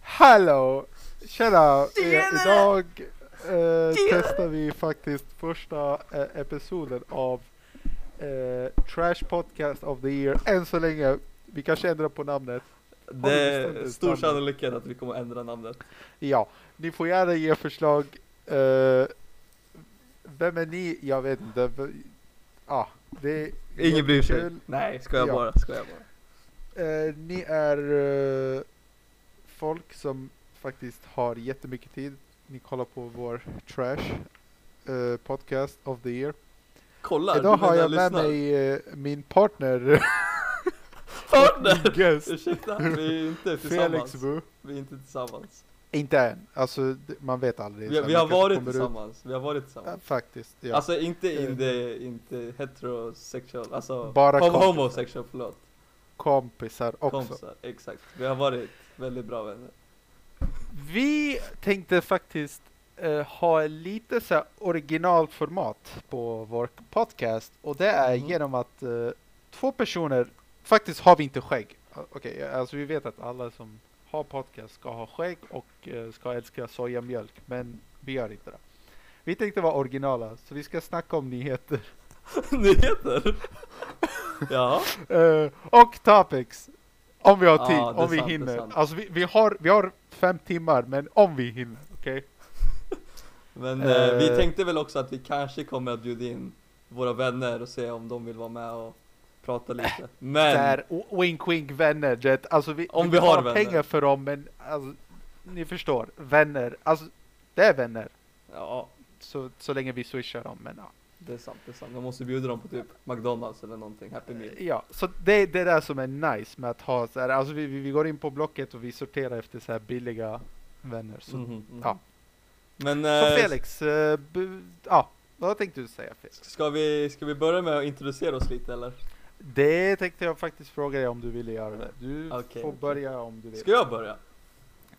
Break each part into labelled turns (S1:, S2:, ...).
S1: Hallå! Tjena! Eh,
S2: Tjena!
S1: Idag eh, testar vi faktiskt första eh, episoden av eh, Trash Podcast of the Year än så länge. Vi kanske ändrar på namnet.
S2: Det är
S1: bestämt ett
S2: stor
S1: namn?
S2: sannolikhet att vi kommer ändra namnet.
S1: Ja, ni får gärna ge förslag. Eh, vem är ni? Jag vet inte. V- Ja, det är
S2: Ingen bryr sig.
S1: jättekul.
S2: Nej, ska jag
S1: Ja.
S2: bara, ska jag bara.
S1: Eh, ni är eh, folk som faktiskt har jättemycket tid. Ni kollar på vår trash eh, podcast of the year.
S2: Kolla,
S1: Idag
S2: du
S1: har
S2: menar
S1: jag med
S2: lyssnar.
S1: mig eh, min partner,
S2: Partner!
S1: guest,
S2: Ursäkta, vi är inte tillsammans.
S1: Felix Wu.
S2: Vi är inte tillsammans.
S1: Inte än, alltså d- man vet aldrig.
S2: Vi,
S1: Så
S2: vi
S1: man
S2: har
S1: kanske
S2: varit
S1: kommer ut-
S2: tillsammans, vi har varit
S1: Ja,
S2: tillsammans.
S1: faktiskt, ja.
S2: Alltså inte
S1: Eh.
S2: in det, inte heterosexuell, alltså
S1: Bara
S2: hom-
S1: kompisar.
S2: homosexuell, förlåt.
S1: Kompisar också.
S2: Kompisar, exakt. Vi har varit väldigt bra vänner.
S1: Vi tänkte faktiskt eh, ha lite så här originalformat på vår podcast och det är
S2: Mhm.
S1: genom att eh, två personer, faktiskt har vi inte skägg. Ah, Okej, alltså vi vet att alla som har podcast ska ha skägg och eh, ska älska sojamjölk, men vi gör inte det. Vi tänkte vara originala, så vi ska snacka om nyheter
S2: Nyheter! ja,
S1: Eh, och topics. Om vi har
S2: Ja,
S1: tid,
S2: det är
S1: om vi
S2: sant, det är
S1: hinner.
S2: sant.
S1: Alltså vi, vi, har, vi har fem timmar, men om vi hinner, okej?
S2: men eh, vi
S1: Eh.
S2: tänkte väl också att vi kanske kommer att bjuda in våra vänner och se om de vill vara med och prata lite. Men,
S1: Eh, där wink wink vänner. du Vet, alltså vi,
S2: Om vi har
S1: betalar
S2: vänner.
S1: pengar för dem men alltså, ni förstår, vänner. Alltså det är vänner.
S2: ja,
S1: Så, så länge vi swishar dem. Men, ja.
S2: det är sant, det är sant. Man måste bjuda dem på typ McDonalds eller någonting, Happy Meal.
S1: ja, så det, det är det som är nice med att ha så här, alltså vi, vi vi går in på Blocket och vi sorterar efter så här billiga vänner. Så,
S2: Mhm, mhm.
S1: mm-hmm. ja.
S2: Men
S1: så
S2: eh,
S1: Felix, eh, bu- ja, vad tänkte du säga Felix?
S2: ska, vi, ska vi börja med att introducera oss lite eller?
S1: Det tänkte jag faktiskt fråga dig om du ville göra det. Du
S2: Okej,
S1: får
S2: okej.
S1: börja om du vill.
S2: Ska jag börja?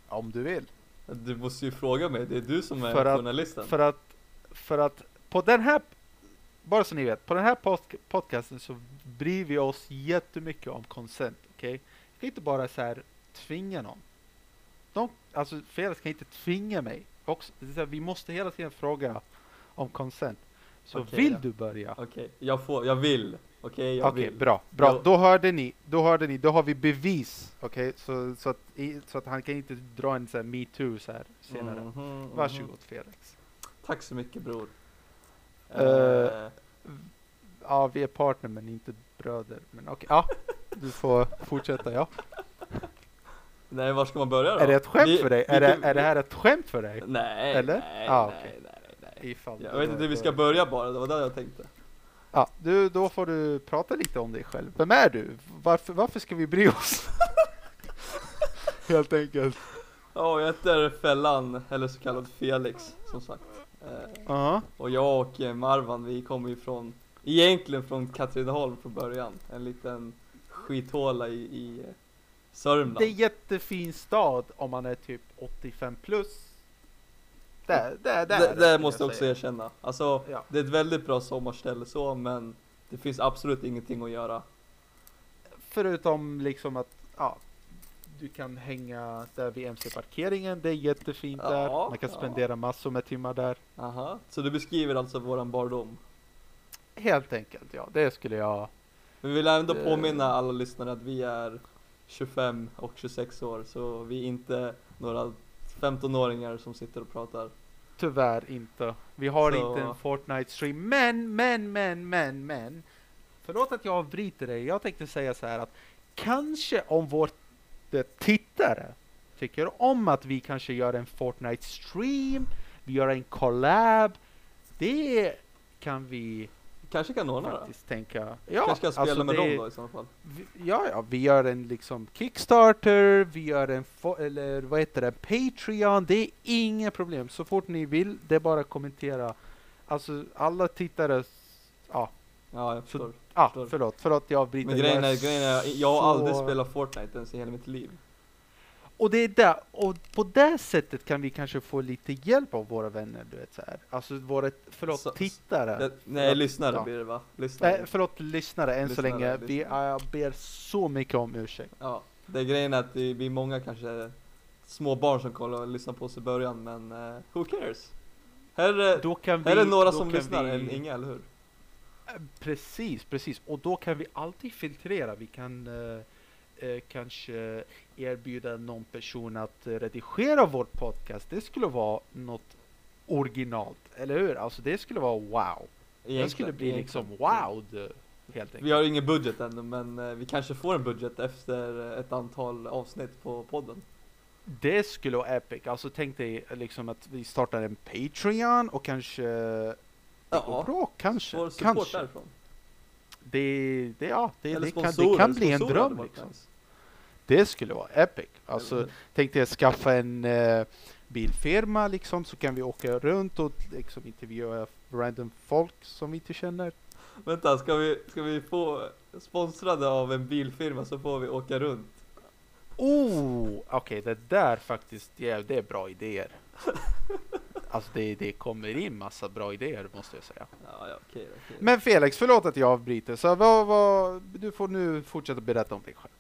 S1: Om du vill.
S2: Du måste ju fråga mig, det är du som är
S1: För att-
S2: journalisten.
S1: För att, för att på den här, bara så ni vet, på den här post- podcasten så bryr vi oss jättemycket om consent, okej? Vi kan inte bara så här tvinga någon. De, alltså Felix kan inte tvinga mig. Också, det är så här, vi måste hela tiden fråga om consent. Så
S2: Okej,
S1: vill
S2: ja.
S1: du börja?
S2: Okej, jag får, jag vill. Okej, jag
S1: Okej,
S2: vill.
S1: bra, bra.
S2: Jo.
S1: Då hörde ni, då hörde ni, då har vi bevis, okej? Så, så, att, i- så att han kan inte dra en sån här metoo så här senare.
S2: Mhm, mhm.
S1: Varsågod Felix.
S2: Tack så mycket bror.
S1: Eh,
S2: Eh,
S1: Ja, vi är partner men inte bröder. Men okej, ja. Du får fortsätta, ja.
S2: nej, var ska man börja då?
S1: Är det ett skämt
S2: Vi-
S1: för dig?
S2: vi
S1: Är det,
S2: kan-
S1: är det här ett skämt för dig?
S2: Nej,
S1: eller?
S2: nej,
S1: Ah,
S2: nej,
S1: okej.
S2: nej, nej.
S1: Ifall
S2: Jag
S1: det-
S2: vet inte hur vi ska börja bara, det var där jag tänkte.
S1: Ja, du, då får du prata lite om dig själv. Vem är du? Varför, varför ska vi bry oss? Helt enkelt.
S2: Ja, jag heter Fällan, eller så kallad Felix, som sagt. Eh,
S1: Ja.
S2: och jag och eh, Marvan, vi kommer ju från, egentligen från Katrineholm från början. En liten skithåla i, i eh, Sörmland.
S1: Det är en jättefin stad om man är typ 85 plus. Där, där, där.
S2: det,
S1: skulle
S2: det måste jag också
S1: säga.
S2: erkänna. Alltså,
S1: Ja.
S2: det är ett väldigt bra sommarställe så, men det finns absolut ingenting att göra.
S1: Förutom liksom att, ja. Du kan hänga där vid MC-parkeringen, det är jättefint
S2: Ja,
S1: där. Man kan
S2: ja.
S1: spendera massor med timmar där.
S2: Aha. Så du beskriver alltså våran barndom.
S1: Helt enkelt, ja. Det skulle jag...
S2: Men vi vill ändå
S1: Eh.
S2: påminna alla lyssnare att vi är 25 och 26 år, så vi är inte några 15-åringar som sitter och pratar.
S1: Tyvärr inte. Vi har
S2: Så-
S1: inte en Fortnite-stream. Men, men, men, men, men. Förlåt att jag avbryter dig. Jag tänkte säga så här att kanske om vår de tittare tycker om att vi kanske gör en Fortnite-stream, vi gör en collab. Det kan vi
S2: Kanske kan ordna det?
S1: faktiskt tänka. Ja,
S2: Kanske kan spela
S1: alltså
S2: med
S1: det-
S2: dem då i så fall?
S1: Vi, ja, ja, vi gör en liksom Kickstarter, vi gör en, fo- eller vad heter det, Patreon, det är inga problem. Så fort ni vill, det är bara att kommentera. Alltså alla tittare, s- ja,
S2: Ja, jag förstår.
S1: ah,
S2: Förstår.
S1: förlåt, förlåt jag avbryter.
S2: Men
S1: Jag
S2: grejen är,
S1: så-
S2: grejen är, jag har aldrig spelat Fortnite ens i hela mitt liv.
S1: Och det är där, och på det sättet kan vi kanske få lite hjälp av våra vänner, du vet så här. Alltså våra, förlåt,
S2: Så-
S1: tittare.
S2: Jag, nej,
S1: Jag-
S2: lyssnare
S1: ja.
S2: blir det va? Lyssnare.
S1: Nej, förlåt lyssnare, än så
S2: Lyssnare,
S1: länge. Vi, jag ber så mycket om ursäkt.
S2: Ja, det är grejen att vi, vi är många kanske små barn som kollar och lyssnar på oss i början men eh, who cares? Här är,
S1: Då kan vi,
S2: här är några
S1: då
S2: som
S1: kan
S2: lyssnar,
S1: vi-
S2: än inga eller hur?
S1: Precis, precis. Och då kan vi alltid filtrera. Vi kan eh, eh, kanske erbjuda någon person att eh, redigera vår podcast. Det skulle vara något originalt, eller hur? Alltså det skulle vara wow. Det
S2: Egentligen,
S1: skulle bli
S2: egentligen.
S1: liksom wow, eh, helt
S2: Vi
S1: enkelt.
S2: har ingen budget ännu men eh, vi kanske får en budget efter eh, ett antal avsnitt på podden.
S1: Det skulle vara epic. Alltså tänk dig eh, liksom att vi startar en Patreon och kanske det går
S2: Ja,
S1: bra, kanske.
S2: får support
S1: kanske.
S2: därifrån.
S1: Det, det, ja, det,
S2: Eller
S1: det, kan, det
S2: sponsorer,
S1: kan bli en
S2: sponsorer hade
S1: dröm.
S2: varit
S1: Liksom.
S2: nice.
S1: Det skulle vara epic. Alltså, tänkte jag skaffa en eh, bilfirma liksom så kan vi åka runt och liksom intervjua random folk som vi inte känner.
S2: Vänta, ska vi, ska vi få sponsrade av en bilfirma så får vi åka runt?
S1: Oh, okej det där faktiskt, ja, det är bra idéer. Alltså det, det kommer in massa bra idéer måste jag säga.
S2: Ja, ja okej då, okej. då.
S1: Men Felix, förlåt att jag avbryter. Så vad, vad, du får nu fortsätta berätta om dig själv.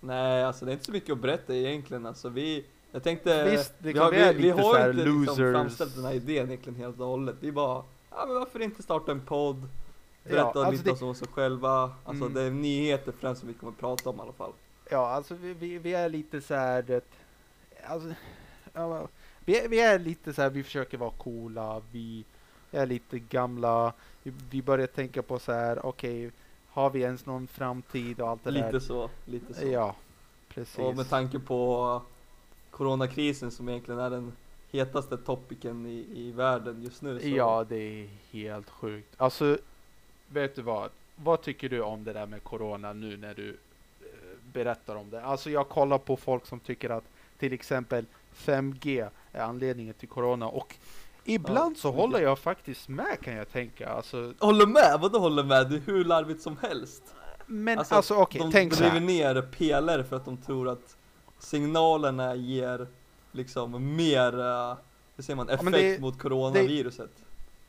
S2: Nej, alltså det är inte så mycket att berätta egentligen alltså vi Jag tänkte,
S1: Visst, det
S2: vi
S1: kan
S2: har,
S1: bli
S2: vi, vi
S1: lite så
S2: har
S1: här
S2: inte
S1: losers.
S2: liksom framställt den här idén egentligen helt och hållet Vi bara, ja men varför inte starta en podd? Berätta
S1: Ja, alltså
S2: lite
S1: det-
S2: om oss själva, alltså
S1: Mm.
S2: det är nyheter främst som vi kommer att prata om i alla fall
S1: Ja, alltså vi, vi, vi är lite så här... Det, alltså, ja, vad- vi, är- vi är lite så här, vi försöker vara coola, vi är lite gamla, vi, vi börjar tänka på så här, okej, har vi ens någon framtid och allt det
S2: Lite
S1: där?
S2: så, lite så
S1: Ja, precis.
S2: Och med tanke på Coronakrisen som egentligen är den hetaste topicen i, i världen just nu så
S1: Ja, det är helt sjukt. Alltså, vet du vad? Vad tycker du om det där med corona nu när du eh, berättar om det? Alltså, jag kollar på folk som tycker att till exempel 5G är anledningen till corona och ibland så
S2: mycket.
S1: håller jag faktiskt med kan jag tänka. Alltså,
S2: Håller med? Vadå håller med? Det är hur larvigt som helst
S1: men alltså,
S2: Alltså,
S1: okej,
S2: de
S1: tänk så
S2: driver
S1: här.
S2: ner pelare för att de tror att signalerna ger liksom mer, eh, hur säger man,
S1: men
S2: effekt
S1: det-
S2: mot coronaviruset.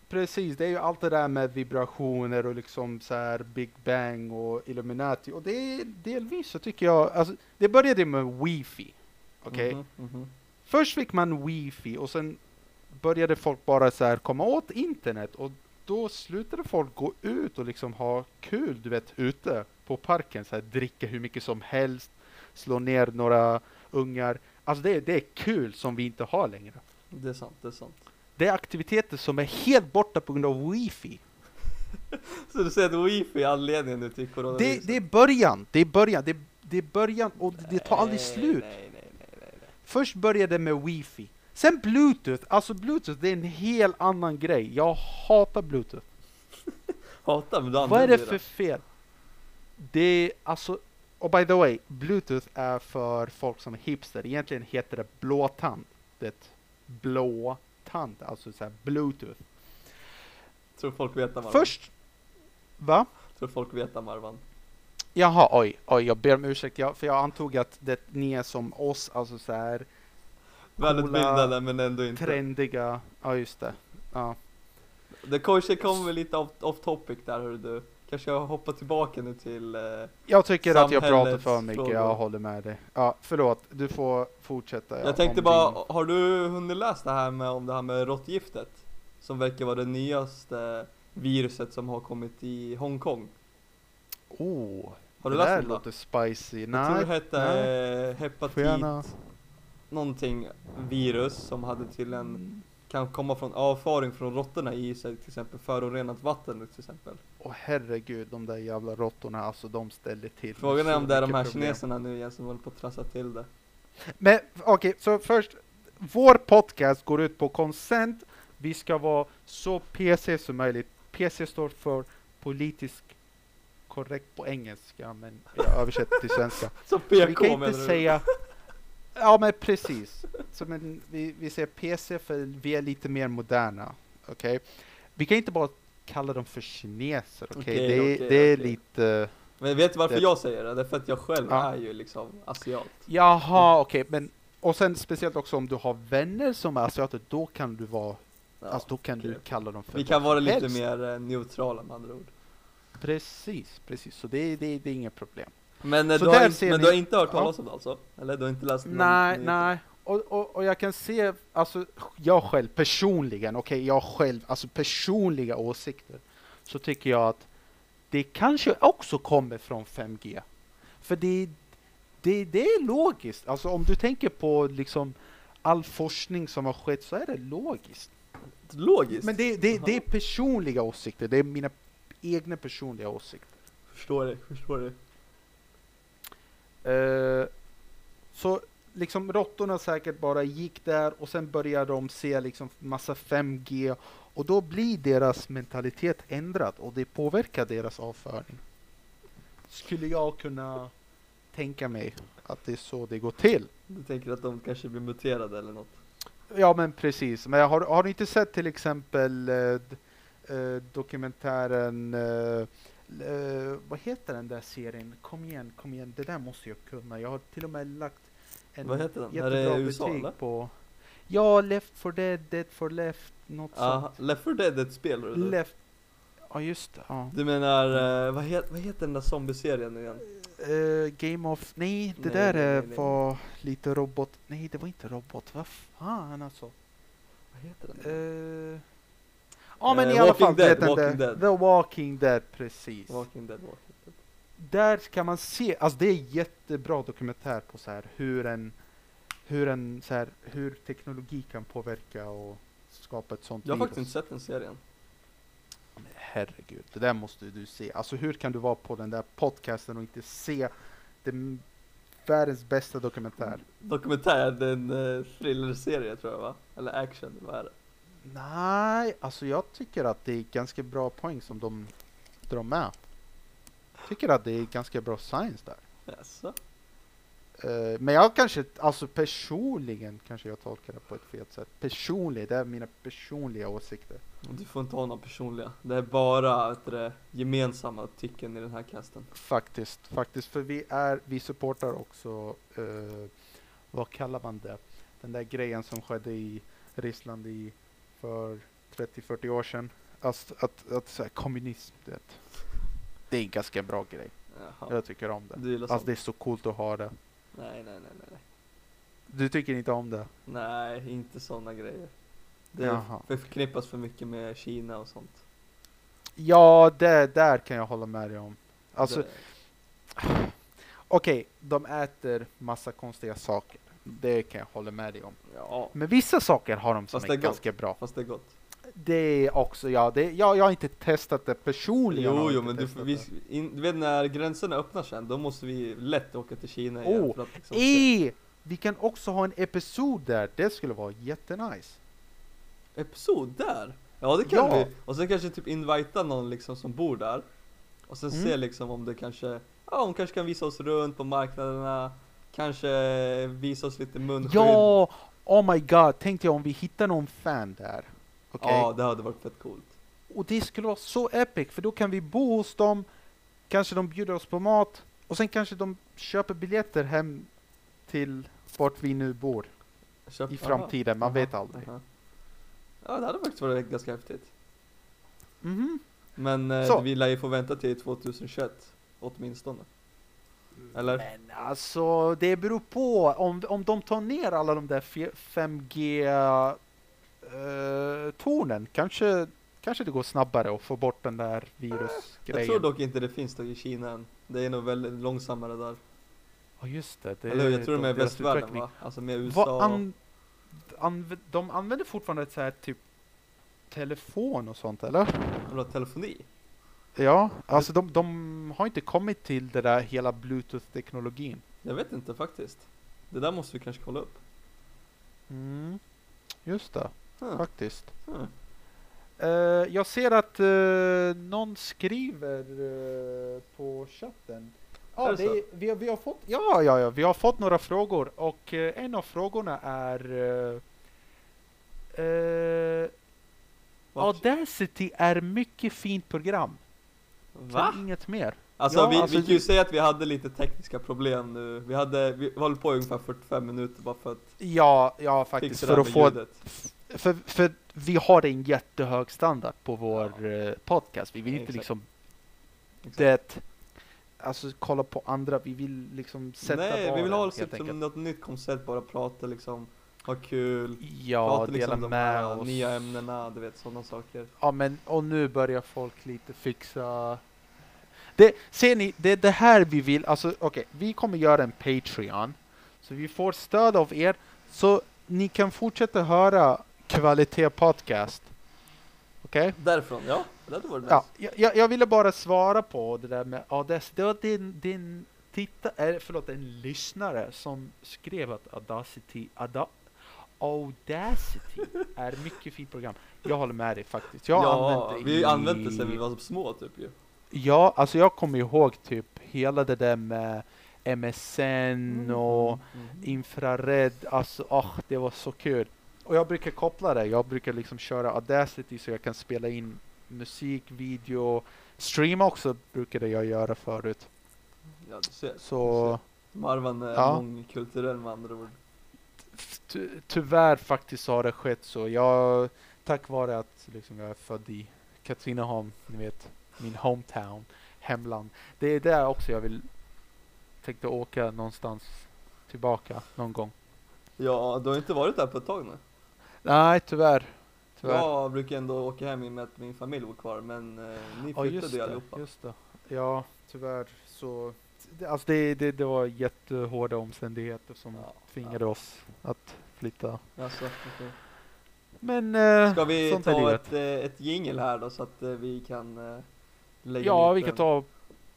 S1: Precis, det är ju allt det där med vibrationer och liksom så här Big Bang och Illuminati och det är delvis så tycker jag, alltså, det började med wifi. Okej?
S2: Mhm, mhm.
S1: Först fick man wifi och sen började folk bara så här komma åt internet och då slutade folk gå ut och liksom ha kul, du vet, ute på parken, så här, dricka hur mycket som helst, slå ner några ungar. Alltså det, är- det är kul som vi inte har längre.
S2: Det är sant, det är sant.
S1: Det är aktiviteter som är helt borta på grund av wifi.
S2: Så du säger att wifi är anledningen nu till coronaviruset?
S1: Det, det är början, det är början, det, det är början och det, det tar aldrig
S2: Nej,
S1: slut.
S2: Nej, nej, nej, nej, nej.
S1: Först började det med wifi. Sen bluetooth, alltså bluetooth det är en helt annan grej. Jag hatar bluetooth.
S2: Hatar men du
S1: Vad är
S2: använder
S1: det för fel? Det är alltså, och by the way, bluetooth är för folk som är hipster. Egentligen heter det blåtand. Det blå tand, alltså så här bluetooth.
S2: Tror folk vet Marvan?
S1: Först, va?
S2: Tror folk vet Marvan?
S1: Jaha, oj, oj, jag ber om ursäkt, jag, för jag antog att det, ni är som oss, alltså så här
S2: Välutbildade men ändå inte.
S1: trendiga, ja just det. Ja.
S2: Det kanske kommer lite off, off topic där hör du. Kanske jag hoppar tillbaka nu till eh,
S1: Jag tycker att jag pratar
S2: Samhällets
S1: för mycket,
S2: frågor.
S1: jag håller med dig. Ja, förlåt, du får fortsätta.
S2: Jag tänkte
S1: om din-
S2: bara, har du hunnit läst det här med, om det här med råttgiftet? Som verkar vara det nyaste viruset som har kommit i Hongkong.
S1: Oh,
S2: Har du
S1: det
S2: läst
S1: där
S2: om det?
S1: låter spicy.
S2: Jag tror det
S1: Nej,
S2: hette eh,
S1: får gärna.
S2: hepatit någonting virus som hade till en, kan komma från avföring från råttorna i sig till exempel förorenat vatten till exempel.
S1: Åh herregud, de där jävla råttorna, alltså de ställer till. med
S2: Frågan
S1: så
S2: är om det är de
S1: mycket
S2: här
S1: problem.
S2: kineserna nu igen som håller på att trassla till det.
S1: Men okej, så först. Vår podcast går ut på consent. Vi ska vara så PC som möjligt. PC står för politisk korrekt på engelska, men jag översätter till svenska.
S2: Så
S1: Så
S2: PK
S1: vi kan inte
S2: menar du?
S1: säga... Ja, men precis. Så, men, vi, vi säger PC för vi är lite mer moderna. Okej? Vi kan inte bara kalla dem för kineser, okej?
S2: Okej,
S1: det, är-
S2: okej,
S1: det är
S2: okej.
S1: lite...
S2: Men vet du varför
S1: Det-
S2: jag säger det? Det är för att jag själv
S1: Ja.
S2: är ju liksom asiat.
S1: Jaha, okej, men... Mm. Och sen speciellt också om du har vänner som är asiater, då kan du vara...
S2: Ja.
S1: alltså då kan du
S2: okej.
S1: kalla dem för...
S2: Vi kan vara lite
S1: helst.
S2: mer eh, neutrala med andra ord.
S1: Precis, precis. Så det, det, det är inget problem.
S2: Men, eh,
S1: Så
S2: du har,
S1: där
S2: inte,
S1: ser
S2: men
S1: ni-
S2: du har inte hört
S1: ja.
S2: talas om det alltså? Eller du har inte läst någon
S1: Nej,
S2: nyhet?
S1: nej. och, och, och jag kan se, alltså jag själv personligen, okej jag själv, alltså personliga åsikter, så tycker jag att det kanske också kommer från 5G. För det, det, det är logiskt, alltså om du tänker på liksom all forskning som har skett så är det logiskt.
S2: Logiskt.
S1: Men det, det, det är
S2: Jaha.
S1: personliga åsikter, det är mina egna personliga åsikter.
S2: Förstår det, förstår det.
S1: Eh, så liksom råttorna säkert bara gick där och sen började de se liksom massa 5G och då blir deras mentalitet ändrad och det påverkar deras avföring. Skulle jag kunna tänka mig att det är så det går till.
S2: Du tänker att de kanske blir muterade eller något?
S1: Ja men precis, men jag har, har du inte sett till exempel eh, d- eh, dokumentären, eh, l- eh, vad heter den där serien? Kom igen, kom igen, det där måste jag kunna. Jag har till och med lagt en
S2: Vad heter den? Är det
S1: jättebra
S2: USA,
S1: betyg
S2: eller?
S1: på... Ja, Left for Dead, Dead for Left, något
S2: Aha, Left 4 Dead är ett spel eller?
S1: sånt. Left... Ja just det, ja.
S2: Du menar, eh, vad, het, vad heter den där zombieserien nu igen?
S1: Eh, Game of... Nej, det
S2: Nej,
S1: där
S2: nej,
S1: eh,
S2: nej, nej.
S1: var lite robot... Nej, det var inte robot, vad fan alltså.
S2: Vad heter den?
S1: Eh, Ja men
S2: Eh,
S1: i alla
S2: Walking
S1: fall, du
S2: Dead,
S1: vet den
S2: Walking
S1: där-
S2: Dead.
S1: The Walking Dead, precis.
S2: Walking Dead, Walking Dead.
S1: Där kan man se, alltså det är jättebra dokumentär på så här hur en, hur en, så här, hur teknologi kan påverka och skapa ett sånt
S2: Jag har
S1: liv
S2: faktiskt inte sett den serien.
S1: Men Herregud, det där måste du se. Alltså hur kan du vara på den där podcasten och inte se den, världens bästa dokumentär?
S2: Dokumentär, det är en eh, thrillerserie tror jag va? Eller action, vad är det?
S1: Nej, alltså jag tycker att det är ganska bra poäng som de drar med. Tycker att det är ganska bra science där.
S2: Jaså?
S1: Eh, men jag kanske, alltså personligen kanske jag tolkar det på ett fel sätt. Personlig, det är mina personliga åsikter.
S2: Du får inte ha några personliga. Det är bara vet du, det, gemensamma tycken i den här kasten.
S1: Faktiskt, faktiskt. För vi är, vi supportar också, eh, vad kallar man det? Den där grejen som skedde i Ryssland i för 30-40 år sedan. Alltså att, att så här, kommunism, du vet. Det är en ganska bra grej.
S2: Jaha.
S1: Jag tycker om det.
S2: Du gillar
S1: Alltså
S2: sånt?
S1: det är så coolt att ha det.
S2: Nej, nej, nej, nej, nej.
S1: Du tycker inte om det?
S2: Nej, inte sådana grejer. Det
S1: Jaha.
S2: förknippas för mycket med Kina och sånt.
S1: Ja, det där kan jag hålla med dig om. Alltså,
S2: det,
S1: Okej, de äter massa konstiga saker. Det kan jag hålla med dig om.
S2: ja,
S1: Men vissa saker har de som
S2: Fast
S1: är,
S2: det är gott.
S1: ganska bra.
S2: fast det är gott.
S1: Det är också, ja, det, jag, jag har inte testat det personligen. har
S2: Jo,
S1: jag
S2: jo,
S1: inte
S2: men du,
S1: testat
S2: får- vi,
S1: det.
S2: in, du vet när gränserna öppnar sen, då måste vi lätt åka till Kina igen.
S1: Oh,
S2: för att liksom,
S1: Eh, vi kan också ha en episod där, det skulle vara jättenice.
S2: Episod där? Ja det kan
S1: Ja.
S2: vi! Och sen kanske typ invita någon liksom som bor där Och sen
S1: Mm.
S2: se liksom om det kanske, ja hon kanske kan visa oss runt på marknaderna Kanske visa oss lite munskydd
S1: Ja, oh my god, tänk dig om vi hittar någon fan där. Okej?
S2: ja det hade varit fett coolt
S1: Och det skulle vara så epic, för då kan vi bo hos dem, kanske de bjuder oss på mat, och sen kanske de köper biljetter hem till vart vi nu bor
S2: Köp-
S1: i
S2: aha,
S1: framtiden, man
S2: aha,
S1: vet aldrig.
S2: aha. Ja det hade faktiskt varit ganska häftigt
S1: Mhm.
S2: Men eh,
S1: Så.
S2: vi lär ju få vänta till 2021 Åtminstone Eller?
S1: Men alltså, det beror på. Om, om de tar ner alla de där 5G-tornen, eh, kanske, kanske det går snabbare att få bort den där
S2: Jag
S1: virusgrejen.
S2: tror dock inte det finns då i Kina än Det är nog väldigt långsammare där
S1: Ja, just det. det
S2: Eller hur? Jag tror de är i
S1: deras
S2: västvärlden
S1: utveckling.
S2: va? Alltså med USA
S1: Vad an, anv, de använder fortfarande så här typ telefon och sånt eller?
S2: Vadå, telefoni?
S1: Ja, alltså de, de har inte kommit till det där hela bluetooth-teknologin.
S2: Jag vet inte faktiskt. Det där måste vi kanske kolla upp.
S1: Mm. Just det,
S2: Huh.
S1: faktiskt.
S2: Huh.
S1: Eh, jag ser att eh, någon skriver eh, på chatten. Ja,
S2: Är
S1: det
S2: det
S1: är, vi, har- vi har fått, ja, ja, ja, vi har fått några frågor och eh, en av frågorna är eh, eh,
S2: Vart?
S1: Audacity är mycket fint program.
S2: Va?
S1: Men Inget mer.
S2: Alltså,
S1: Ja,
S2: vi,
S1: alltså
S2: vi kan ju
S1: det-
S2: säga att vi hade lite tekniska problem nu. Vi hade, vi höll på i ungefär 45 minuter bara för att
S1: Ja, ja faktiskt.
S2: fixa
S1: För
S2: det
S1: att
S2: här
S1: få,
S2: med ljudet.
S1: för, för vi har en jättehög standard på vår
S2: Ja.
S1: eh, podcast. Vi vill inte
S2: Exakt.
S1: liksom
S2: Exakt.
S1: det Alltså kolla på andra, vi vill liksom sätta
S2: Nej, vi vill
S1: barnen,
S2: ha
S1: helt
S2: typ,
S1: enkelt.
S2: som något nytt koncept, bara prata liksom ha kul.
S1: Ja,
S2: Prata liksom
S1: dela
S2: om de
S1: med
S2: här
S1: oss.
S2: nya ämnena, du vet sådana saker.
S1: Ja, men och nu börjar folk lite fixa... Det, ser ni, det är det här vi vill. Alltså, okej, vi kommer göra en Patreon. Så vi får stöd av er. Så ni kan fortsätta höra kvalitet podcast. Okej?
S2: Därifrån, ja. Det hade varit
S1: Ja,
S2: nice.
S1: jag- jag, jag ville bara svara på det där med Audacity. Det var din, din titta, eller förlåt, en lyssnare som skrev att Audacity, Ada, Audacity är mycket fint program. Jag håller med dig faktiskt. Jag har
S2: ja,
S1: använt det
S2: vi
S1: i-
S2: har använt det sedan vi var små typ ju.
S1: Ja, alltså jag kommer ihåg typ hela det där med MSN och
S2: Mm.
S1: infrared. Alltså, ah, det var så kul. Och jag brukar koppla det. Jag brukar liksom köra Audacity så jag kan spela in musik, video, stream också brukade jag göra förut.
S2: Ja, du ser.
S1: Så
S2: Marvan är
S1: Ja.
S2: mångkulturell med andra ord.
S1: ty tyvärr faktiskt så har det skett så. Jag, tack vare att liksom jag är född i Katrineholm, ni vet, min hometown, hemland. Det är där också jag vill tänkte åka någonstans tillbaka någon gång.
S2: Ja, du har inte varit där på ett tag nu.
S1: Nej, tyvärr. tyvärr.
S2: Jag brukar ändå åka hem i och med att min familj bor kvar, men eh, ni
S1: Ja,
S2: flyttade
S1: just
S2: ju
S1: det,
S2: allihopa.
S1: just det. Ja, tyvärr så. det- Alltså det, det, det var jättehårda omständigheter som
S2: Ja,
S1: tvingade oss att flytta.
S2: Alltså, okej.
S1: Men eh,
S2: Ska vi
S1: sånt är
S2: ta
S1: livet.
S2: ett, eh, ett jingel här då så att eh, vi kan eh, lägga
S1: Ja,
S2: dit
S1: vi kan
S2: den?
S1: ta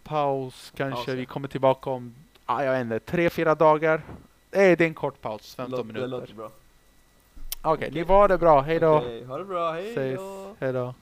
S1: paus kanske.
S2: Paus, ja.
S1: Vi kommer tillbaka om, ah, jag vet inte, tre, fyra dagar. Nej, det är en kort paus, 15
S2: Låt-
S1: minuter.
S2: Det låter
S1: Okej,
S2: bra.
S1: ni var det bra. Hej då.
S2: Okej, ha det bra, hej
S1: Ses.
S2: då.
S1: Hej då.